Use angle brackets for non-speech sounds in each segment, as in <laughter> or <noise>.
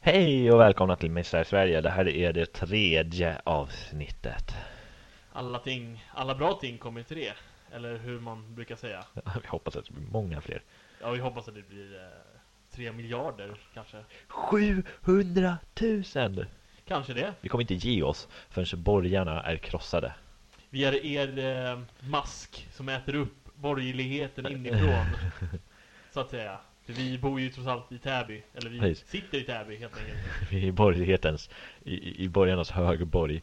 Hej och välkomna till Missar Sverige. Det här är det tredje avsnittet. Alla ting, alla bra ting kommer i tre. Eller hur man brukar säga. Vi hoppas att det blir många fler. Ja, vi hoppas att det blir eh, tre miljarder kanske. 700 000! Kanske det. Vi kommer inte ge oss förrän borgarna är krossade. Vi är er eh, mask som äter upp borgerligheten inifrån. <laughs> så att säga. För vi bor ju trots allt i Täby. Eller vi Precis. sitter i Täby helt enkelt. Vi är i borgerlighetens, i- i, i borgarnas högborg.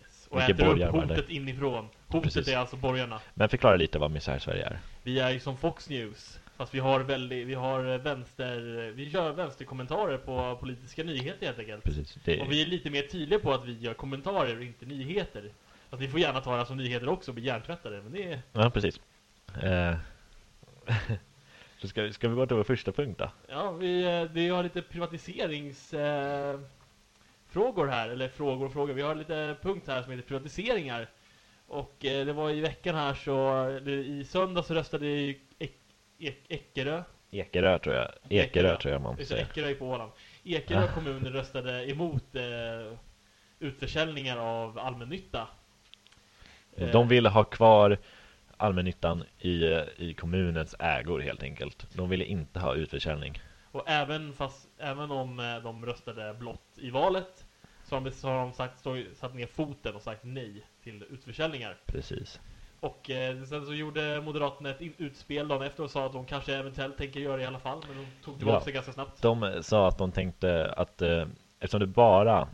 Yes. Och Vilka äter upp borgar var det? hotet inifrån. Hotet Precis. är alltså borgarna. Men förklara lite vad Missar Sverige är. Vi är ju som Fox News. Fast vi har väldigt, vi har eh, vänster, vi gör vänsterkommentarer på politiska nyheter helt enkelt. Precis. Det, Och vi är lite mer tydliga på att vi gör kommentarer och inte nyheter. Att ni får gärna ta det här som nyheter också och bli hjärntvättade, men det är... Ja, precis. Eh, <laughs> så ska, ska vi gå till vår första punkt då? Ja, vi, eh, vi har lite privatiseringsfrågor eh, frågor här, eller frågor och frågor. Vi har lite punkt här som heter privatiseringar. Och eh, det var i veckan här så, eller i söndag så röstade ju Ek, Ek, Ekerö, Ekerö tror jag, Ekerö Ekerö. tror jag man just det, säger. Ekerö är på Åland. Ekerö Ah. kommun röstade emot eh, utförsäljningar av allmännytta. Eh, De ville ha kvar allmännyttan i, i kommunens ägor helt enkelt. De ville inte ha utförsäljning. Och även, fast, även om eh, de röstade blått i valet så har de, så har de sagt, så, satt ner foten och sagt nej till utförsäljningar. Precis. Och eh, sen så gjorde Moderaterna ett in- utspel dagen efter och sa att de kanske eventuellt tänker göra det i alla fall. Men de tog tillbaka Ja. sig ganska snabbt. De eh, sa att de tänkte att eh, eftersom det bara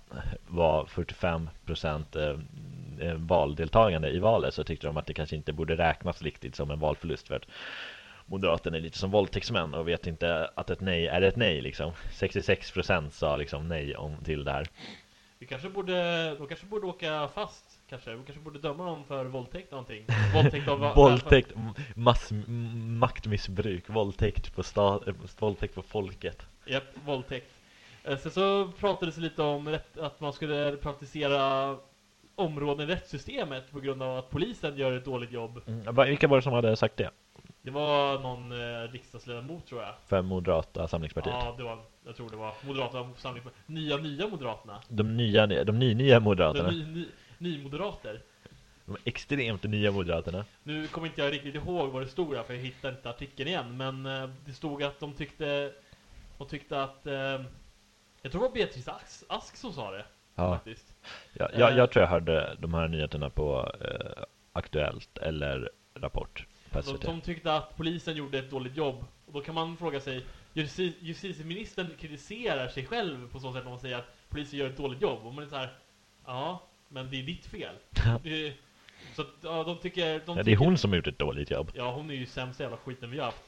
var 45 procent eh, valdeltagande i valet så tyckte de att det kanske inte borde räknas riktigt som en valförlust för att Moderaterna är lite som våldtäktsmän och vet inte att ett nej är ett nej liksom. 66 procent sa liksom nej om, till det här. Vi kanske borde, de kanske borde åka fast. Kanske. Vi kanske borde döma dem för <laughs> våldtäkt någonting. Våldtäkt av va- Våldtäkt, m- mass, m- maktmissbruk, våldtäkt på, sta, eh, våldtäkt på folket. Japp, våldtäkt. Eh, Sen så pratades det lite om rätt, att man skulle privatisera områden i rättssystemet på grund av att polisen gör ett dåligt jobb. Mm, va- vilka var det som hade sagt det? Det var någon eh, riksdagsledamot tror jag. För Moderata samlingspartiet? Ja, det var, jag tror det var Moderaterna samling, Nya, nya Moderaterna. De nya, de ny, nya De moderaterna? ny, ny, nymoderater. De extremt nya moderaterna? Nu kommer inte jag riktigt ihåg vad det stod där, för jag hittade inte artikeln igen. Men eh, det stod att de tyckte, de tyckte att, eh, jag tror det var Beatrice Ask, Ask som sa det Ja, faktiskt. jag, jag, jag tror jag hörde de här nyheterna på eh, Aktuellt eller Rapport på De, SVT. de tyckte att polisen gjorde ett dåligt jobb. Och då kan man fråga sig, justi- justitieministern kritiserar sig själv på så sätt att man säger att polisen gör ett dåligt jobb. Och man är så här, ja, men det är <laughs> ditt fel. Det är- så att, ja, de tycker... De Ja, det är tycker- hon som har gjort ett dåligt jobb. Ja, hon är ju sämsta jävla skiten vi har haft.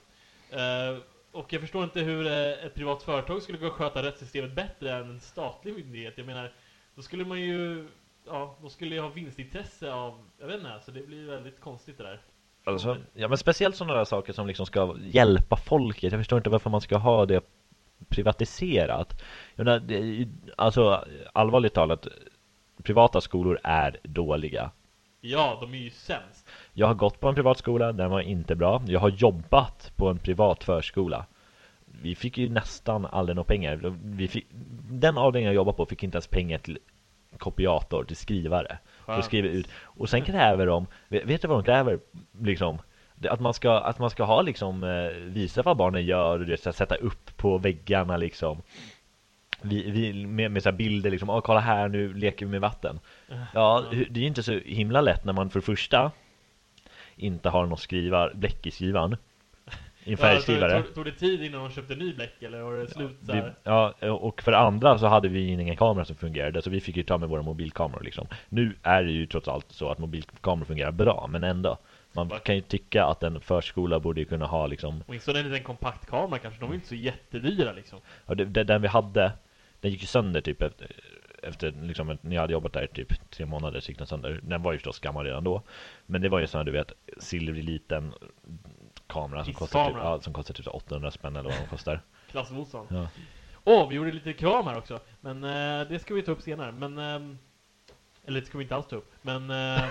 Eh, och jag förstår inte hur eh, ett privat företag skulle gå och sköta rättssystemet bättre än en statlig myndighet. Jag menar, då skulle man ju... Ja, de skulle ju ha vinstintresse av... Jag vet inte, så det blir väldigt konstigt det där. Alltså, ja, men speciellt sådana där saker som liksom ska hjälpa folket. Jag förstår inte varför man ska ha det privatiserat. Jag menar, det är ju- alltså, allvarligt talat, privata skolor är dåliga. Ja, de är ju sämst. Jag har gått på en privatskola, den var inte bra. Jag har jobbat på en privat förskola. Vi fick ju nästan aldrig några pengar. Vi fick, den avdelningen jag jobbade på fick inte ens pengar till kopiator, till skrivare. Och Skönt. skriver ut. Och sen kräver de, vet vet du vad de kräver? Liksom, Det- att man ska, att man ska ha liksom, eh, visa vad barnen gör och det, så här, sätta upp på väggarna liksom. Vi, vi, med, med så här bilder liksom, åh kolla här nu leker vi med vatten. Ja, hur- det är ju inte så himla lätt när man för det första inte har någon skriva, bläck i <laughs> skrivaren. I en Ja, färgskrivare. tog, tog, tog det tid innan de köpte ny bläck eller var det slut ja, Vi, ja, och för det andra så hade vi ju ingen kamera som fungerade så vi fick ju ta med våra mobilkameror liksom. Nu är det ju trots allt så att mobilkameror fungerar bra, men ändå. Man kan ju tycka att en förskola borde ju kunna ha liksom, Åtminstone en liten kompaktkamera kanske, de är ju inte så jättedyra liksom. ja, det- det- den vi hade, den gick ju sönder typ efter, efter liksom, ett- när jag hade jobbat där i typ tre månader så gick den sönder. Den var ju förstås gammal redan då. Men det var ju sån här du vet, silvrig liten kamera som kostar, typ, Fiskkamera. ja, som kostar typ så 800 spänn eller vad den kostar. Klassmotorn. Åh, Ja. vi gjorde lite kram här också. Men eh, det ska vi ta upp senare. Men, ehm, eller det ska vi inte alls ta upp. <laughs> Men, ehm,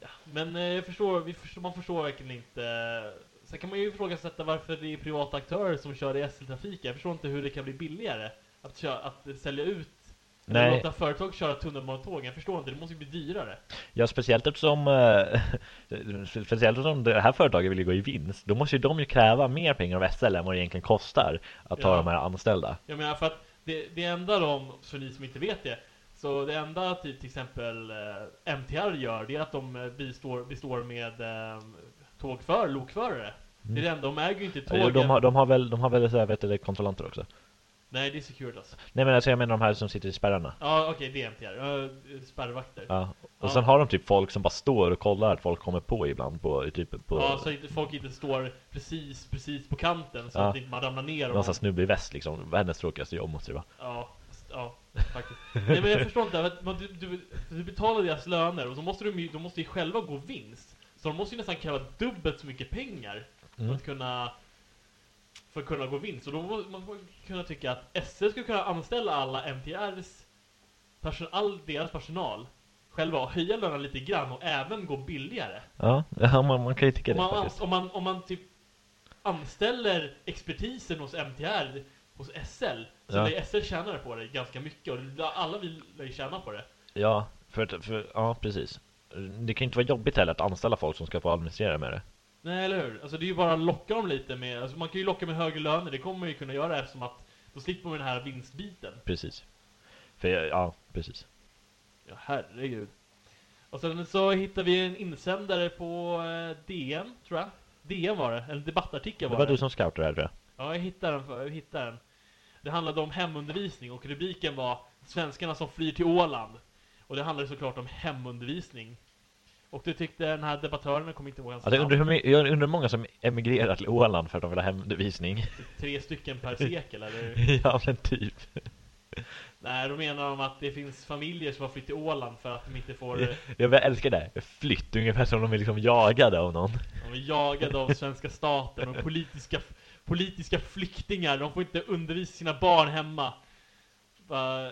ja, men eh, jag förstår, vi förstår, man förstår verkligen inte Sen kan man ju ifrågasätta varför det är privata aktörer som kör i SL-trafik. Jag förstår inte hur det kan bli billigare att, köra, att sälja ut eller Nej. låta företag köra tunnelbanetåg. Jag förstår inte, det måste ju bli dyrare. Ja, speciellt eftersom, eh, <laughs> speciellt eftersom det här företaget vill ju gå i vinst. Då måste ju de ju kräva mer pengar av SL än vad det egentligen kostar att ta Ja. de här anställda. Jag menar för att det, det enda de, för ni som inte vet det, så det enda typ till exempel eh, MTR gör, det är att de eh, bistår, består med eh, tågförare, lokförare. Det är det enda, de äger ju inte Mm. Jo, tågen. De har, de har väl, de har väl så här, vet du, det, kontrollanter också? Nej, det är Securitas. Nej men alltså jag menar de här som sitter i spärrarna. Ja, okej, det är MTR. Eh, spärrvakter. Ja, Ja. Och Ja. sen har de typ folk som bara står och kollar att folk kommer på ibland på, typ på så att folk inte står precis, precis på kanten så Ja. att inte man ramlar ner. någon och- sån här snubbe i väst liksom. Världens tråkigaste jobb måste det vara. Ja, fast- ja, faktiskt. Nej, men jag förstår inte. för att man- Du, du, du betalar deras löner och då måste de ju, de måste ju själva gå vinst. Så de måste ju nästan kräva dubbelt så mycket pengar Mm. för att kunna för att kunna gå vinst. Och då må- man får kunna tycka att SL skulle kunna anställa alla MTRs person, all deras personal själva och höja lönerna lite grann och även gå billigare. Ja, <laughs> ja man, man kan ju tycka Om det man, faktiskt. ans- om, man, om man typ anställer expertisen hos MTR, hos SL, så Ja. lär ju SL tjänar på det ganska mycket och det- alla vill lär ju tjäna på det. Ja, för, att- för, ja precis. Det kan ju inte vara jobbigt heller att anställa folk som ska få administrera med det. Nej, eller hur? Alltså det är ju bara att locka dem lite med, alltså man kan ju locka med högre löner, det kommer man ju kunna göra eftersom att då slipper man den här vinstbiten. Precis. För jag- ja, precis. Ja, herregud. Och sen så hittar vi en insändare på eh, DN, tror jag. DN var det, eller en Det debattartikel var var det. du som scoutade det här tror jag. Ja, jag hittade den. För, jag hittade den. Det handlade om hemundervisning och rubriken var Svenskarna som flyr till Åland. Och det handlade såklart om hemundervisning. Och det tyckte den här debattören, jag kommer inte ihåg hans Alltså, jag, namn, undrar hur, my- jag undrar hur många som emigrerar till Åland för att de vill ha hemundervisning. <laughs> typ tre stycken per sekel eller? ja men typ. Nej, då menar de att det finns familjer som har flytt till Åland för att de inte får, eh, Jag älskar det. här. Flytt, ungefär som de är liksom jagade av någon. de är jagade av svenska staten och politiska, politiska flyktingar, de får inte undervisa sina barn hemma. Va-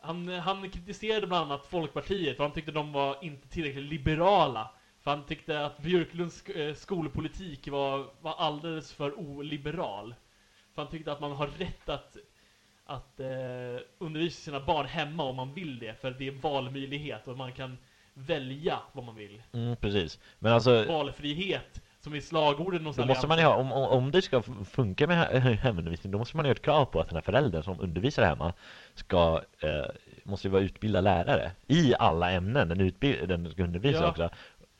Han, han kritiserade bland annat Folkpartiet och han tyckte de var inte tillräckligt liberala. För han tyckte att Björklunds sk- eh, skolpolitik var, var alldeles för oliberal. För han tyckte att man har rätt att, att eh, undervisa sina barn hemma om man vill det, för det är valmöjlighet och man kan välja vad man vill. Mm, precis. Men alltså, Valfrihet, som är slagorden hos då måste man ju ha, om, om- om det ska funka med he- hemundervisning, då måste man ju ha ett krav på att den här föräldern som undervisar hemma ska, eh, måste ju vara utbildad lärare i alla ämnen den, utbild, den ska undervisa Ja. också.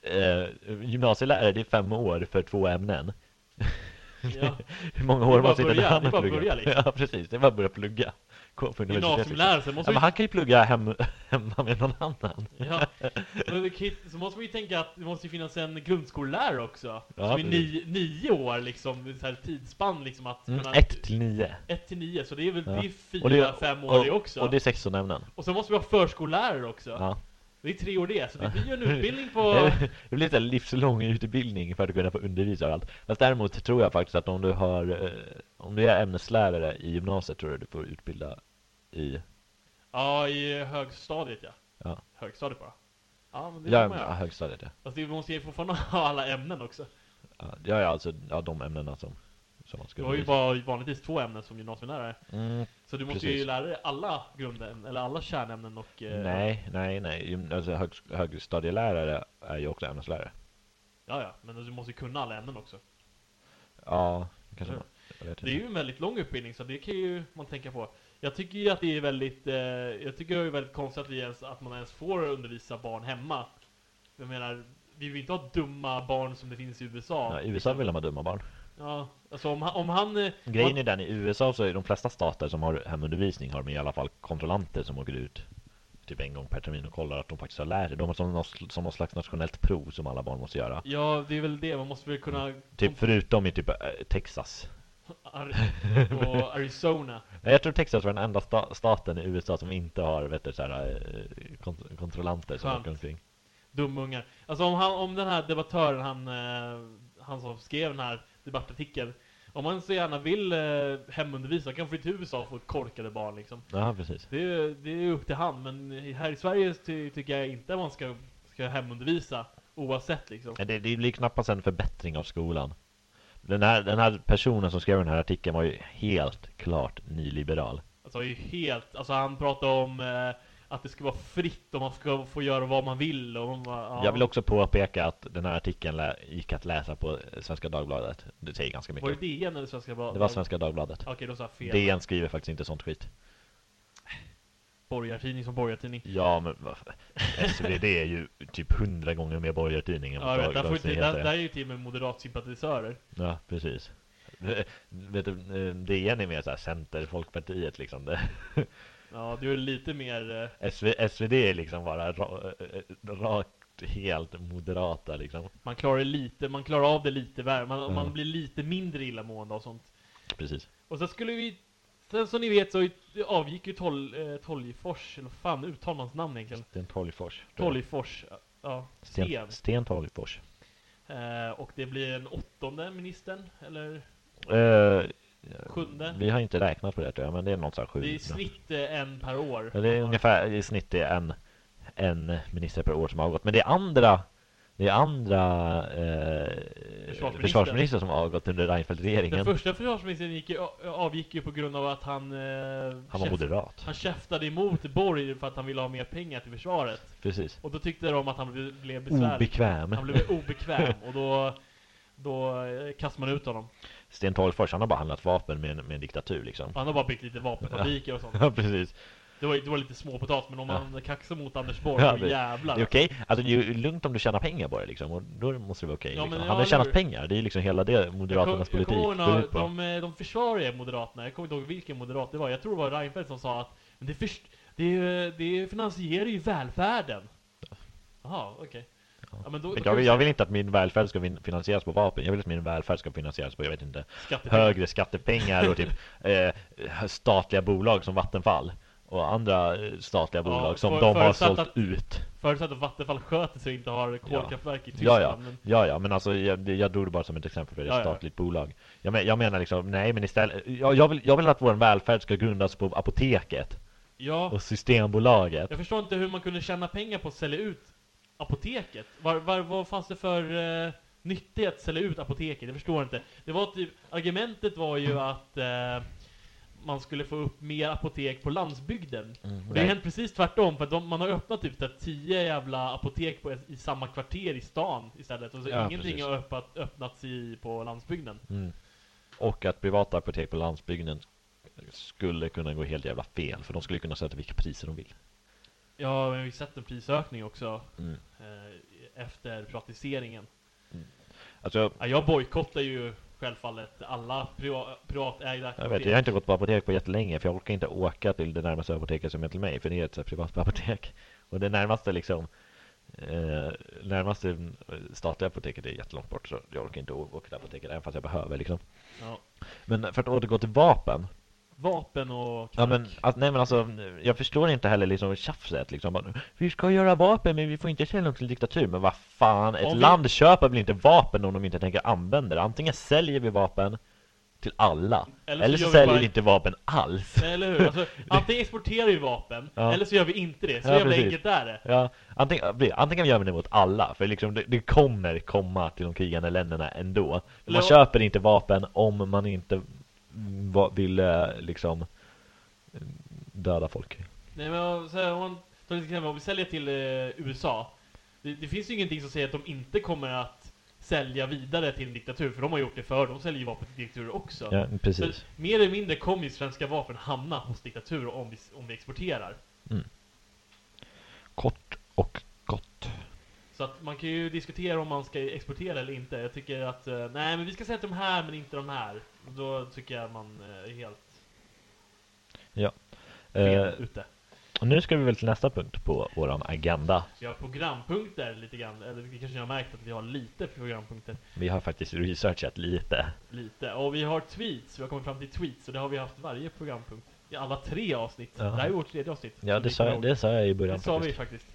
Eh, gymnasielärare, det är fem år för två ämnen. Ja. <laughs> Hur många Det år är bara måste inte börja, den det är bara andra plugga? börja liksom. <laughs> Ja, precis. Det är bara att börja plugga. Gå på universitet, liksom. Gymnasielärare, så Ja, måste men man ju han kan ju plugga hem, <laughs> hemma med någon annan. Ja, men det kan ju- så måste man ju tänka att det måste ju finnas en grundskollärare också. Ja, som är precis. ni, nio år liksom, så här tidsspann liksom att Mm, kunna- ett till nio. ett till nio, så det är väl Ja. det är Och fyra, det- fem år Och, det också. och det är 16 ämnen. och sen måste vi ha förskollärare också. Ja. Det är tre år det, så det Ja. <laughs> blir ju en utbildning på... Det blir lite livslång utbildning för att kunna få undervisa och allt. Fast däremot tror jag faktiskt att om du har, eh, om du är ämneslärare i gymnasiet tror jag du får utbilda i, Ja, i högstadiet ja. Ja. Högstadiet bara. Ja, men det ja, får man ja, göra. högstadiet ja. Fast det måste ju fortfarande <laughs> ha alla ämnen också. Ja, Ja, ja, alltså ja, de ämnena som, som man ska Du har ju Eh. undervisa. bara vanligtvis två ämnen som gymnasielärare. Mm, Så du måste ju Precis. lära dig alla grunden, eller alla kärnämnen och... eh, nej, nej, nej. Gym- Alltså, hög, högstadielärare är ju också ämneslärare. Ja, ja, men du måste ju kunna alla ämnen också. Ja, kanske Ja. man. Jag vet Det är inte. ju en väldigt lång utbildning, så det kan ju man tänka på. Jag tycker ju att det är väldigt, eh, jag tycker det är väldigt konstigt att, vi ens, att man ens får undervisa barn hemma. Jag menar, vi vill inte ha dumma barn som det finns i USA. Ja, I USA vill de ha dumma barn. Ja, alltså om han, om han eh, Grejen är den, i USA så är de flesta stater som har hemundervisning har de i alla fall kontrollanter som åker ut typ en gång per termin och kollar att de faktiskt har lärt sig. De har som någon, sl- som någon slags nationellt prov som alla barn måste göra. Ja, det är väl det, man måste väl kunna... Typ förutom i typ eh, Texas. Ar- och Arizona. Nej, jag tror Texas var den enda sta- staten i USA som inte har vet du, så här, eh, kont- kontrollanter som Skönt. åker omkring. Dumungar. Alltså om, han, om den här debattören, han, eh, han som skrev den här debattartikeln, om han så gärna vill eh, hemundervisa, han kan flytta till USA och få korkade barn liksom. Ja, precis. Det är ju det är ju upp till han, men här i Sverige ty, tycker jag inte att man ska, ska hemundervisa. Oavsett liksom. Men Det, det blir knappast en förbättring av skolan. Den här, den här personen som skrev den här artikeln var ju helt klart nyliberal. Alltså det är ju helt, alltså han pratar om eh, att det ska vara fritt och man ska få göra vad man vill och man bara, ja. Jag vill också påpeka att den här artikeln lä- gick att läsa på Svenska Dagbladet. Det säger ganska Var det mycket. DN eller Svenska Dagbladet? Det var Svenska Dagbladet. Okej, då sa jag fel. DN skriver faktiskt inte sånt skit. Borgartidning som borgartidning. Ja, men vad fan. SvD <laughs> är ju typ hundra gånger mer borgartidning än Ja, vad jag vet, där, får Dagens inte, där, Nyheter där är. är ju till och med moderatsympatisörer. Ja, precis. Eh, Vet du, eh, DN är mer såhär Center, Folkpartiet liksom. Det- Ja, du är lite mer... eh, SV, SvD är liksom bara ra, eh, rakt helt moderata liksom. Man klarar det lite, man klarar av det lite värre. Man, Mm. man blir lite mindre illamående och sånt. Precis. Och sen skulle vi... Sen som ni vet så avgick ju Tol, eh, Tolgfors, eller fan uttalar man hans namn egentligen? Sten Tolgfors. Tolgfors, ja, Sten. Sten, Sten Tolgfors. Eh, och det blir en åttonde ministern, eller Eh, sjunde. vi har inte räknat på det tror jag, men det är något sånt sju. Det är i snitt eh, en per år. Ja, det är ungefär i snitt det är en, en minister per år som har avgått. Men det är andra, det är andra eh, Försvarsminister. försvarsminister som har avgått under Den Reinfeldt-regeringen. första försvarsministern gick, ju- avgick ju på grund av att han... Eh, Han var käft- moderat. han käftade emot Borg för att han ville ha mer pengar till försvaret. Precis. Och då tyckte de att han blev- blev besvärlig. Obekväm. Han blev obekväm och då, då eh, kastade man ut honom. Sten Tolgfors, han har bara handlat vapen med en, med en diktatur liksom. Och Han har bara byggt lite vapenfabriker och sånt. <laughs> Ja, precis. Det var, det var lite småpotatis, men om Ja. man kaxar mot Anders Borg, Ja, då det- Det jävlar. är okej. Alltså, det är ju lugnt om du tjänar pengar på det liksom. Och då måste det vara okej. Ja, men liksom. ja, Han har eller tjänat hur? pengar. Det är liksom hela det Jag kom- Moderaternas jag politik kommer ihåg går när ut på. de, eh, de försvarade Moderaterna, jag kommer inte ihåg vilken moderat det var. Jag tror det var Reinfeldt som sa att men det, först, det, är- det finansierar ju välfärden. Jaha, okej. Ja, men då, då Men kan Jag vi vill, jag vill inte att min välfärd ska fin- finansieras på vapen. Jag vill att min välfärd ska finansieras på, jag vet inte, skattepengar. högre skattepengar <laughs> och typ eh, statliga bolag som Vattenfall och andra eh, statliga Ja, bolag som för- de har förutsatt sålt att- ut. Förutsatt att Vattenfall sköter sig och inte har kolkraftverk i Ja, Tyskland. ja, Men, ja, ja, men alltså jag, det- jag drog det bara som ett exempel för det är Ja, ett ja. statligt bolag. Jag, men, jag menar liksom, nej men istället, jag, jag, vill, jag vill att vår välfärd ska grundas på apoteket ja, och Systembolaget. jag förstår inte hur man kunde tjäna pengar på att sälja ut apoteket. Var, var, vad fanns det för eh, nyttig att sälja ut apoteket? Jag förstår inte. Det var typ, argumentet var ju att eh, man skulle få upp mer apotek på landsbygden. Mm, Och det nej. har hänt precis tvärtom, för att de, man har öppnat typ där tio jävla apotek på, i samma kvarter i stan istället. Och så Ja, ingenting precis. har öppnat, öppnats i, på landsbygden. Mm. Och att privata apotek på landsbygden skulle kunna gå helt jävla fel, för de skulle kunna sätta vilka priser de vill. Ja, men vi har ju sett en prisökning också Mm. eh, efter privatiseringen. Alltså, Ja, jag bojkottar ju självfallet alla priva, privatägda Jag vet, jag har inte gått på apotek på jättelänge för jag orkar inte åka till det närmaste apoteket som är till mig för det är ett så här privat <laughs> apotek. Och det närmaste liksom eh, närmaste eh, statliga apoteket är jättelångt bort så jag orkar inte å- åka till apoteket även fast jag behöver liksom. Ja. Men för att återgå till vapen. Vapen och Ja, knark. men, att, nej men alltså, jag förstår inte heller liksom tjafset liksom. Bara, Vi ska göra vapen men vi får inte sälja dem till diktatur. Men vad fan, ett Om vi- land köper väl inte vapen om de inte tänker använda det. Antingen säljer vi vapen till alla. Eller Eller, så, så gör vi säljer bara- vi inte vapen alls. <laughs> Nej, Eller <laughs> hur? Alltså, antingen exporterar vi vapen, Ja. eller så gör vi inte det. Så Ja, jävla precis. enkelt är det. Ja, antingen, antingen gör vi det mot alla, för liksom det, det kommer komma till de krigande länderna ändå. Man Eller- köper inte vapen om man inte va, vill eh, liksom döda folk. Nej, men om- så här, om, man tar till exempel, om vi säljer till eh, USA. Det, det finns ju ingenting som säger att de inte kommer att sälja vidare till en diktatur, för de har gjort det förr. De säljer ju vapen till diktaturer också. Ja, precis. För mer eller mindre kommer ju svenska vapen hamna hos diktaturer om vi, om vi exporterar. Kort och gott. Så att man kan ju diskutera om man ska exportera eller inte. Jag tycker att, eh, nej men vi ska säga till de här men inte de här. Och Då tycker jag man eh, är helt fel Eh, ute. och nu ska vi väl till nästa punkt på våran agenda. Så jag har programpunkter lite grann, eller ni kanske har märkt att vi har lite programpunkter. Vi har faktiskt researchat lite. Lite. Och vi har tweets, vi har kommit fram till tweets och det har vi haft varje programpunkt. I alla tre avsnitt. Ja. Det här är vårt tredje avsnitt. Ja, Som det vi sa, kommer ihåg. det sa jag i början Det sa vi faktiskt. faktiskt.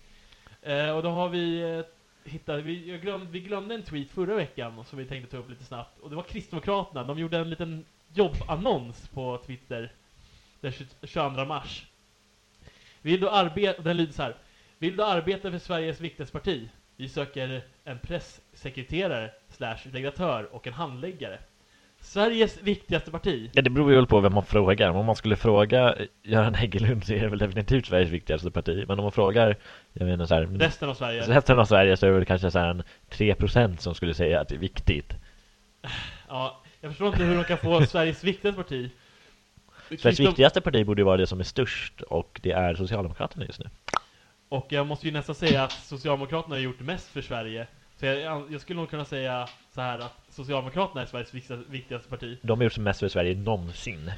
Eh, och då har vi eh, hittat, vi, jag glömde, vi glömde en tweet förra veckan som vi tänkte ta upp lite snabbt. Och det var Kristdemokraterna, de gjorde en liten jobbannons på Twitter den 20 22 mars. Vill du arbeta, den lyder så här. Vill du arbeta för Sveriges viktigaste parti? Vi söker en pressekreterare slash redaktör och en handläggare. Sveriges viktigaste parti. Ja, det beror ju väl på vem man frågar. Men om man skulle fråga Göran Hägglund så är det väl definitivt Sveriges viktigaste parti. Men om man frågar, jag menar så här, men- Resten av Sverige. så resten av Sverige så är det väl kanske så här en 3% som skulle säga att det är viktigt. Ja, jag förstår inte hur de kan få Sveriges viktigaste parti. Sveriges Kristdem- viktigaste parti borde ju vara det som är störst och det är Socialdemokraterna just nu. Och jag måste ju nästan säga att Socialdemokraterna har gjort mest för Sverige. Så jag, jag skulle nog kunna säga så här att Socialdemokraterna är Sveriges viktigaste- viktigaste parti. De har gjort som mest för Sverige någonsin.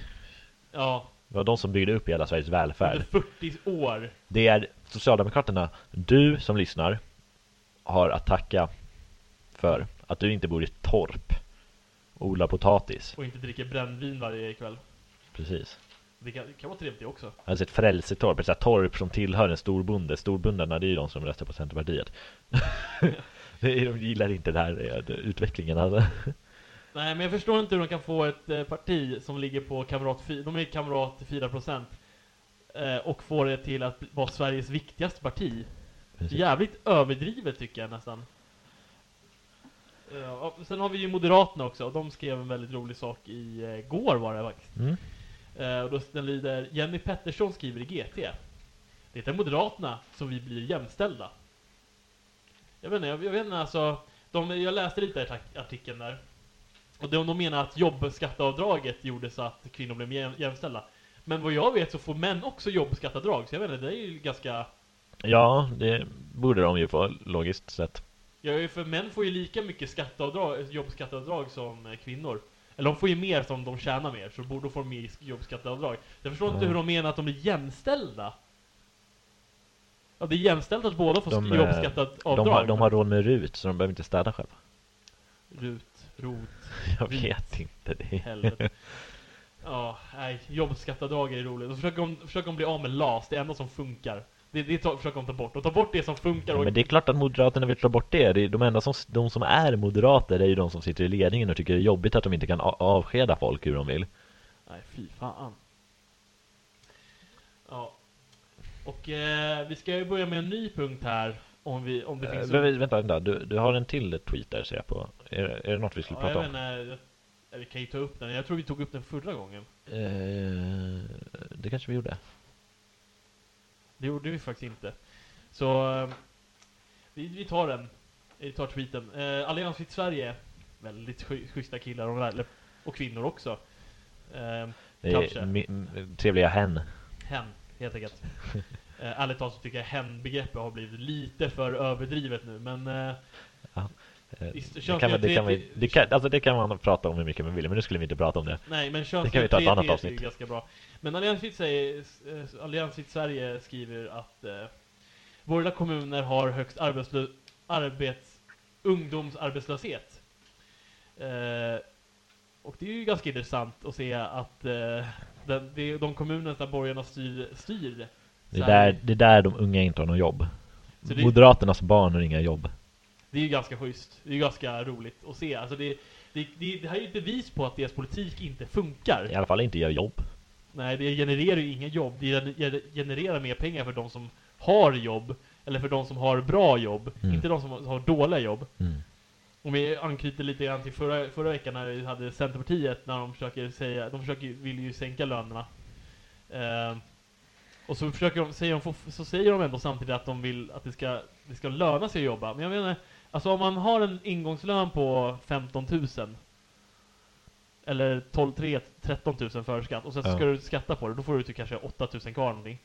Ja, Det var de som byggde upp hela Sveriges välfärd. under 40 år. Det är Socialdemokraterna, du som lyssnar, har att tacka för att du inte bor i torp och odlar potatis. Och inte dricker brännvin varje kväll. Precis. Det kan, det kan vara trevligt det också. Alltså ett frälsetorp, ett sånt här torp som tillhör en storbonde. Storbönderna, det är ju de som röstar på Centerpartiet. <laughs> Det är- de gillar inte den här eh, utvecklingen alltså. Nej, men jag förstår inte hur de kan få ett eh, parti som ligger på kamrat 4, de är kamrat 4% eh, och få det till att bli- vara Sveriges viktigaste parti. Precis. Jävligt överdrivet tycker jag nästan. Eh, och sen har vi ju Moderaterna också, och de skrev en väldigt rolig sak i eh, går var det faktiskt. Mm. Eh, och då, den lyder Jenny Pettersson skriver i GT. Det är Moderaterna som vi blir jämställda. Jag vet inte, jag, jag vet inte alltså. De, jag läste lite i artik- artikeln där. Och de, de menar att jobbskatteavdraget gjorde så att kvinnor blev jäm, jämställda. Men vad jag vet så får män också jobbskatteavdrag, så jag vet inte, det är ju ganska... Ja, det borde de ju få, logiskt sett. Jag är ju för män får ju lika mycket skatteavdrag, jobbskatteavdrag som eh, kvinnor. Eller de får ju mer som de tjänar mer, så borde de få mer sk- jobbskatteavdrag. Jag förstår inte Mm. hur de menar att de är jämställda. Ja, det är jämställt att båda får De, de, eh, jobbskatteavdrag. De har, de har råd med RUT, så de behöver inte städa själva. <laughs> Rut, rot, Jag RUT. vet inte det. <laughs> helvete. Ja, nej, jobbskatteavdrag är roligt. Och försöker de, försöker de bli av med LAS, det enda som funkar. Det, det tar, försöker de ta bort. De tar bort det som funkar Ja, och men det är klart att Moderaterna vill ta bort det. det är de enda som, de som är moderater är ju de som sitter i ledningen och tycker det är jobbigt att de inte kan a- avskeda folk hur de vill. Nej, fy fan. Ja. Och eh, vi ska ju börja med en ny punkt här. Om, vi, om det Eh, finns... vä- vä- vänta, vänta. Du, du har en till tweet där ser jag på. Är, är det något vi skulle ja, jag prata vet om? inte, jag- ja, vi kan ju ta upp den. Jag tror vi tog upp den förra gången. Eh, det kanske vi gjorde. Det gjorde vi faktiskt inte. Så eh, vi, vi tar den. Vi tar tweeten. Eh, Alliansfritt Sverige. Väldigt sky- schyssta killar och, eller, och kvinnor också. Eh, Eh, Kanske. mi- m- trevliga hen. hen, <laughs> helt enkelt. eh, ärligt talat så tycker jag hen-begreppet har blivit lite för överdrivet nu. Men eh, Eh, Visst, Det kan, man- det, kan vi, könsstereotyp- det, kan, alltså det kan man prata om hur mycket man vill, men nu skulle vi inte prata om det. Nej, men Det kan vi ta ett annat könsneutralitet är ju avsnitt. ganska bra. Men Alliansfritt, säger, eh, Alliansfritt Sverige skriver att eh, våra kommuner har högst arbetslö, arbets, ungdomsarbetslöshet. Eh, och det är ju ganska intressant att se att eh, den, det är de kommuner där borgarna styr, styr Det är, Så här- där, det är där de unga inte har något jobb. Så det- Moderaternas barn har inga jobb. Det är ju ganska schysst. Det är ju ganska roligt att se. Alltså det, det, det, det här är ju ett bevis på att deras politik inte funkar. I alla fall inte gör jobb. Nej, det genererar ju inga jobb. Det gener- genererar mer pengar för de som har jobb, eller för de som har bra jobb, Mm. inte de som har dåliga jobb. Mm. Om vi anknyter lite grann till förra, förra veckan när vi hade Centerpartiet, när de försöker säga, de försöker, ju- vill ju sänka lönerna. Eh, och så försöker de, säger de, så säger de ändå samtidigt att de vill att det ska, det ska löna sig att jobba. Men jag menar, alltså om man har en ingångslön på 15 000, eller 12, 3, 13 000 före skatt, och sen så Ja. ska du skatta på det, då får du typ kanske 8 000 kvar eller någonting.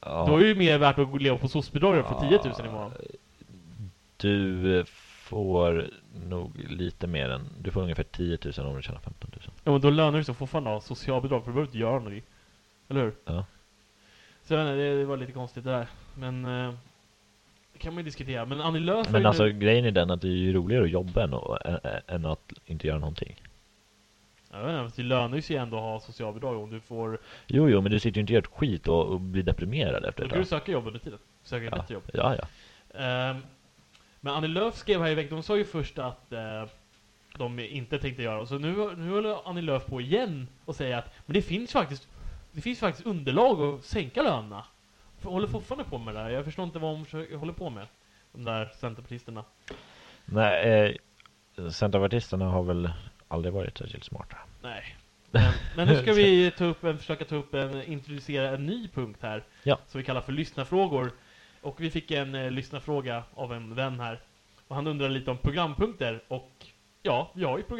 Ja. Då är det ju mer värt att leva på soc-bidragen för 10 000 i månaden. Du eh, får nog lite mer än, du får ungefär 10 000 om du tjänar 15 000. Ja men då lönar det sig att fortfarande ha socialbidrag för du behöver inte göra någonting. Eller hur? Ja. Så jag vet inte, det, det var lite konstigt det där. Men eh, det kan man ju diskutera. Men Annie Lööf har ju Men nu- alltså grejen är den att det är ju roligare att jobba än, att- ä- ä- än att inte göra någonting. Jag vet inte, fast det lönar ju sig ändå att ha socialbidrag om du får... Jo, jo, men du sitter ju inte och gör ett skit och, och blir deprimerad efter Då ett kan du tag. söka jobb under tiden. Söka ett Ja, bättre jobb. ja, ja. Ehm, men Annie Lööf skrev här i veckan, hon sa ju först att eh, de inte tänkte göra det. Så nu, nu håller Annie Lööf på igen och säger att men det finns faktiskt, det finns faktiskt underlag att sänka lönerna. För- Håller fortfarande på med det här. Jag förstår inte vad hon försöker- håller på med. de där centerpartisterna. Nej, eh, centerpartisterna har väl aldrig varit särskilt smarta. Nej. Men, men nu ska vi ta upp en, försöka ta upp en, introducera en ny punkt här. Ja. Som vi kallar för lyssnarfrågor. Och vi fick en eh, lyssnarfråga av en vän här. Och han undrar lite om programpunkter. Och ja, vi har ju program.